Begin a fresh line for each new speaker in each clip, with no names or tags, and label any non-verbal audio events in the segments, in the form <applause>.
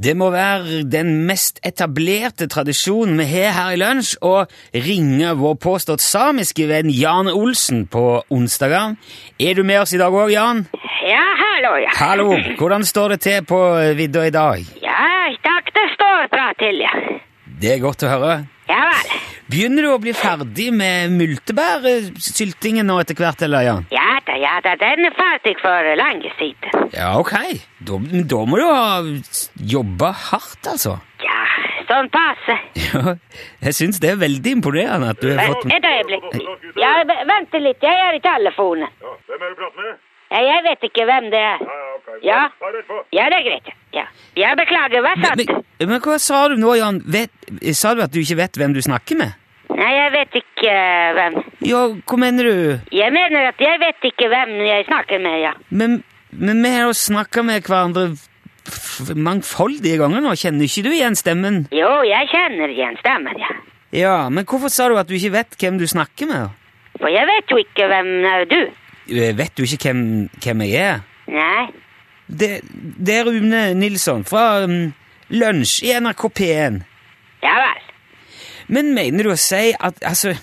Det må være den mest etablerte tradisjonen vi har her i lunsj, å ringe vår påstått samiske venn Jan Olsen på onsdager. Er du med oss i dag òg, Jan?
Ja, hallo, ja.
Hallo! Hvordan står det til på vidda i dag?
Ja, i dag det står bra til, ja.
Det er godt å høre.
Ja vel.
Begynner du å bli ferdig med multebærsyltingen nå etter hvert, eller, Jan?
Ja da, ja da, den er ferdig for lenge siden.
Ja, ok. Da, da må du ha jobba hardt, altså. <laughs>
Ja, sånn passe.
Ja, jeg syns det er veldig imponerende at du har
Vent
fått
et øyeblikk. Ja, v- vent litt, jeg er i telefonen.
Ja, hvem er det du prater med?
Ja, jeg vet ikke hvem det er.
Ja, ja, ok.
Ja.
Ta rett på.
Ja, det er greit. Ja, jeg beklager, hva sa
men,
du?
men, men hva sa du nå, Jan? Vet, sa du at du ikke vet hvem du snakker med?
Nei, jeg vet ikke eh, hvem.
Ja, hva mener du?
Jeg mener at jeg vet ikke hvem jeg snakker med, ja.
Men, men vi har jo snakka med hverandre f- f- mangfoldige ganger nå. Kjenner ikke du igjen stemmen?
Jo, jeg kjenner igjen stemmen, ja.
Ja, men hvorfor sa du at du ikke vet hvem du snakker med?
For jeg vet jo ikke hvem er du.
Eh, Vet du ikke hvem, hvem jeg er?
Nei.
Det, det er Rune Nilsson fra um, Lunsj i NRK P1.
Ja vel.
Men mener du å si at Altså,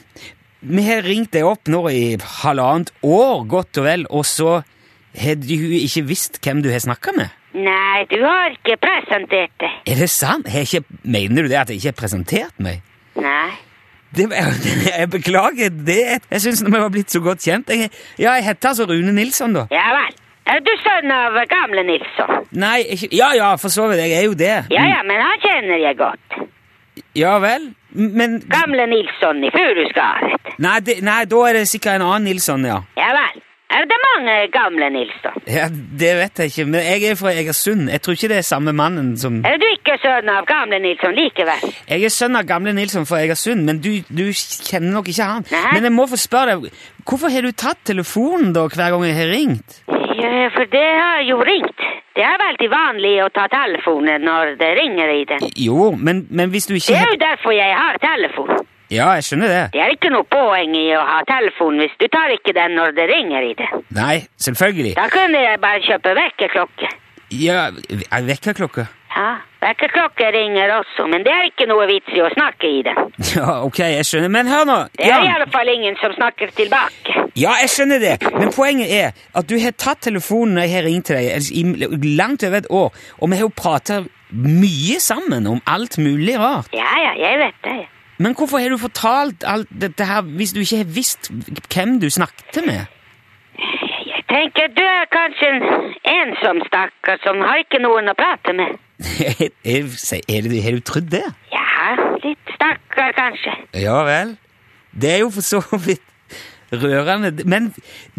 vi har ringt deg opp nå i halvannet år, godt og vel, og så har du ikke visst hvem du har snakka med?
Nei, du har ikke presentert det.
Er det sant? Har jeg ikke, mener du det at jeg ikke har presentert meg?
Nei.
Det, jeg, jeg beklager det. Jeg syns vi var blitt så godt kjent. Jeg, ja, jeg heter altså Rune Nilsson, da.
Ja vel. Er du sønn av gamle Nilsson?
Nei, ikke Ja ja, for så vidt. Jeg er jo det.
Ja ja, men han kjenner jeg godt.
Ja vel? Men
Gamle Nilsson i Furuskaret.
nei, det, nei, da er det sikkert en annen Nilsson, ja.
Ja vel. Er det mange gamle Nilsson?
Ja, Det vet jeg ikke, men jeg er fra Egersund. Jeg tror ikke det er samme mannen som
Er du ikke sønn av gamle Nilsson likevel?
Jeg er sønn av gamle Nilsson fra Egersund, men du, du kjenner nok ikke han.
Nei.
Men jeg må få spørre deg, hvorfor har du tatt telefonen da hver gang jeg har ringt?
Ja, for det har jo ringt. Det er veldig vanlig å ta telefonen når det ringer i den.
Jo, men, men hvis du
Det
ikke
er jo derfor jeg har telefon.
Ja, jeg skjønner det.
Det er ikke noe poeng i å ha telefon hvis du tar ikke den når det ringer i den.
Nei, selvfølgelig.
Da kunne jeg bare kjøpe vekkerklokke.
Ja, jeg vekker klokka.
Ja, vekkerklokke ringer også, men det er ikke noe vits i å snakke i den.
<laughs> Ja, ok, jeg skjønner. Men hør nå,
Det er i
Jan.
alle fall ingen som snakker tilbake.
Ja, jeg skjønner det, men poenget er at du har tatt telefonen når jeg har ringt til deg altså, i langt over et år, og vi har jo prata mye sammen om alt mulig rart.
Ja, ja, jeg vet det. ja.
Men hvorfor har du fortalt alt dette her hvis du ikke har visst hvem du snakket med?
Jeg tenker du er kanskje en ensom stakkar som har ikke noen å prate med.
Er- er- er det- Har du trodd det?
Ja, litt stakkar kanskje.
Ja vel. Det er jo for så vidt rørende. Men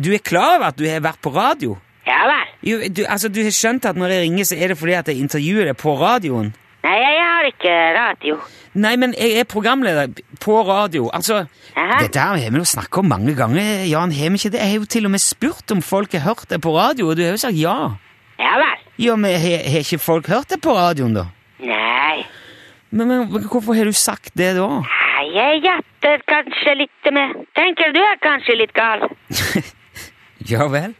du er klar over at du har vært på radio?
Ja vel.
Jo, du, altså, du har skjønt at når jeg ringer, så er det fordi at jeg intervjuer deg på radioen?
Nei, jeg har ikke radio.
Nei, men jeg er programleder på radio. Altså,
Aha.
Dette her har vi jo snakket om mange ganger, Jan. Har vi ikke det? Jeg har jo til og med spurt om folk har hørt det på radio, og du har jo sagt ja.
Ja vel.
Ja, men har har ikke folk hørt det på radioen, da?
Nei.
Men, men men hvorfor har du sagt det da?
Ja, Jeg gjetter kanskje litt med. Tenker du er kanskje litt gal.
<laughs> Ja vel.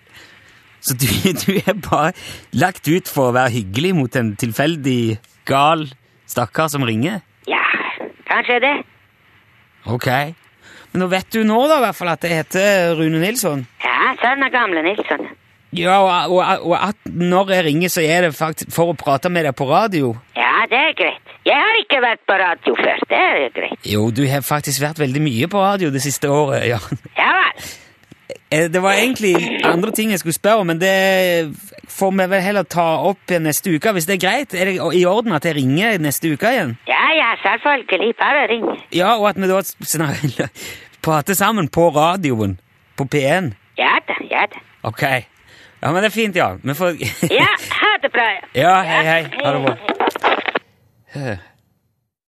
Så du, <laughs> du er bare lagt ut for å være hyggelig mot en tilfeldig gal stakkar som ringer?
Ja, kanskje det.
Ok. Men nå vet du nå da i hvert fall at det heter Rune Nilsson.
Ja, sønn av gamle Nilsson.
Ja, og, og, og at når jeg ringer, så er det faktisk for å prate med deg på radio.
Ja, det er greit. Jeg har ikke vært på radio før. Det er jo greit.
Jo, du har faktisk vært veldig mye på radio det siste året, Jan.
Ja vel.
Eh, Det var egentlig andre ting jeg skulle spørre om, men det får vi vel heller ta opp igjen neste uke. Hvis det er greit, er det i orden at jeg ringer neste uke igjen?
Ja, ja, selvfølgelig. Bare ring.
Ja, og at vi da snak- <laughs> prater sammen på radioen på P1.
Ja da, ja da.
Ok. Ja, men det er fint, ja. Vi får <laughs>
Ja, ha det bra.
Ja, hei, hei. Ha det bra.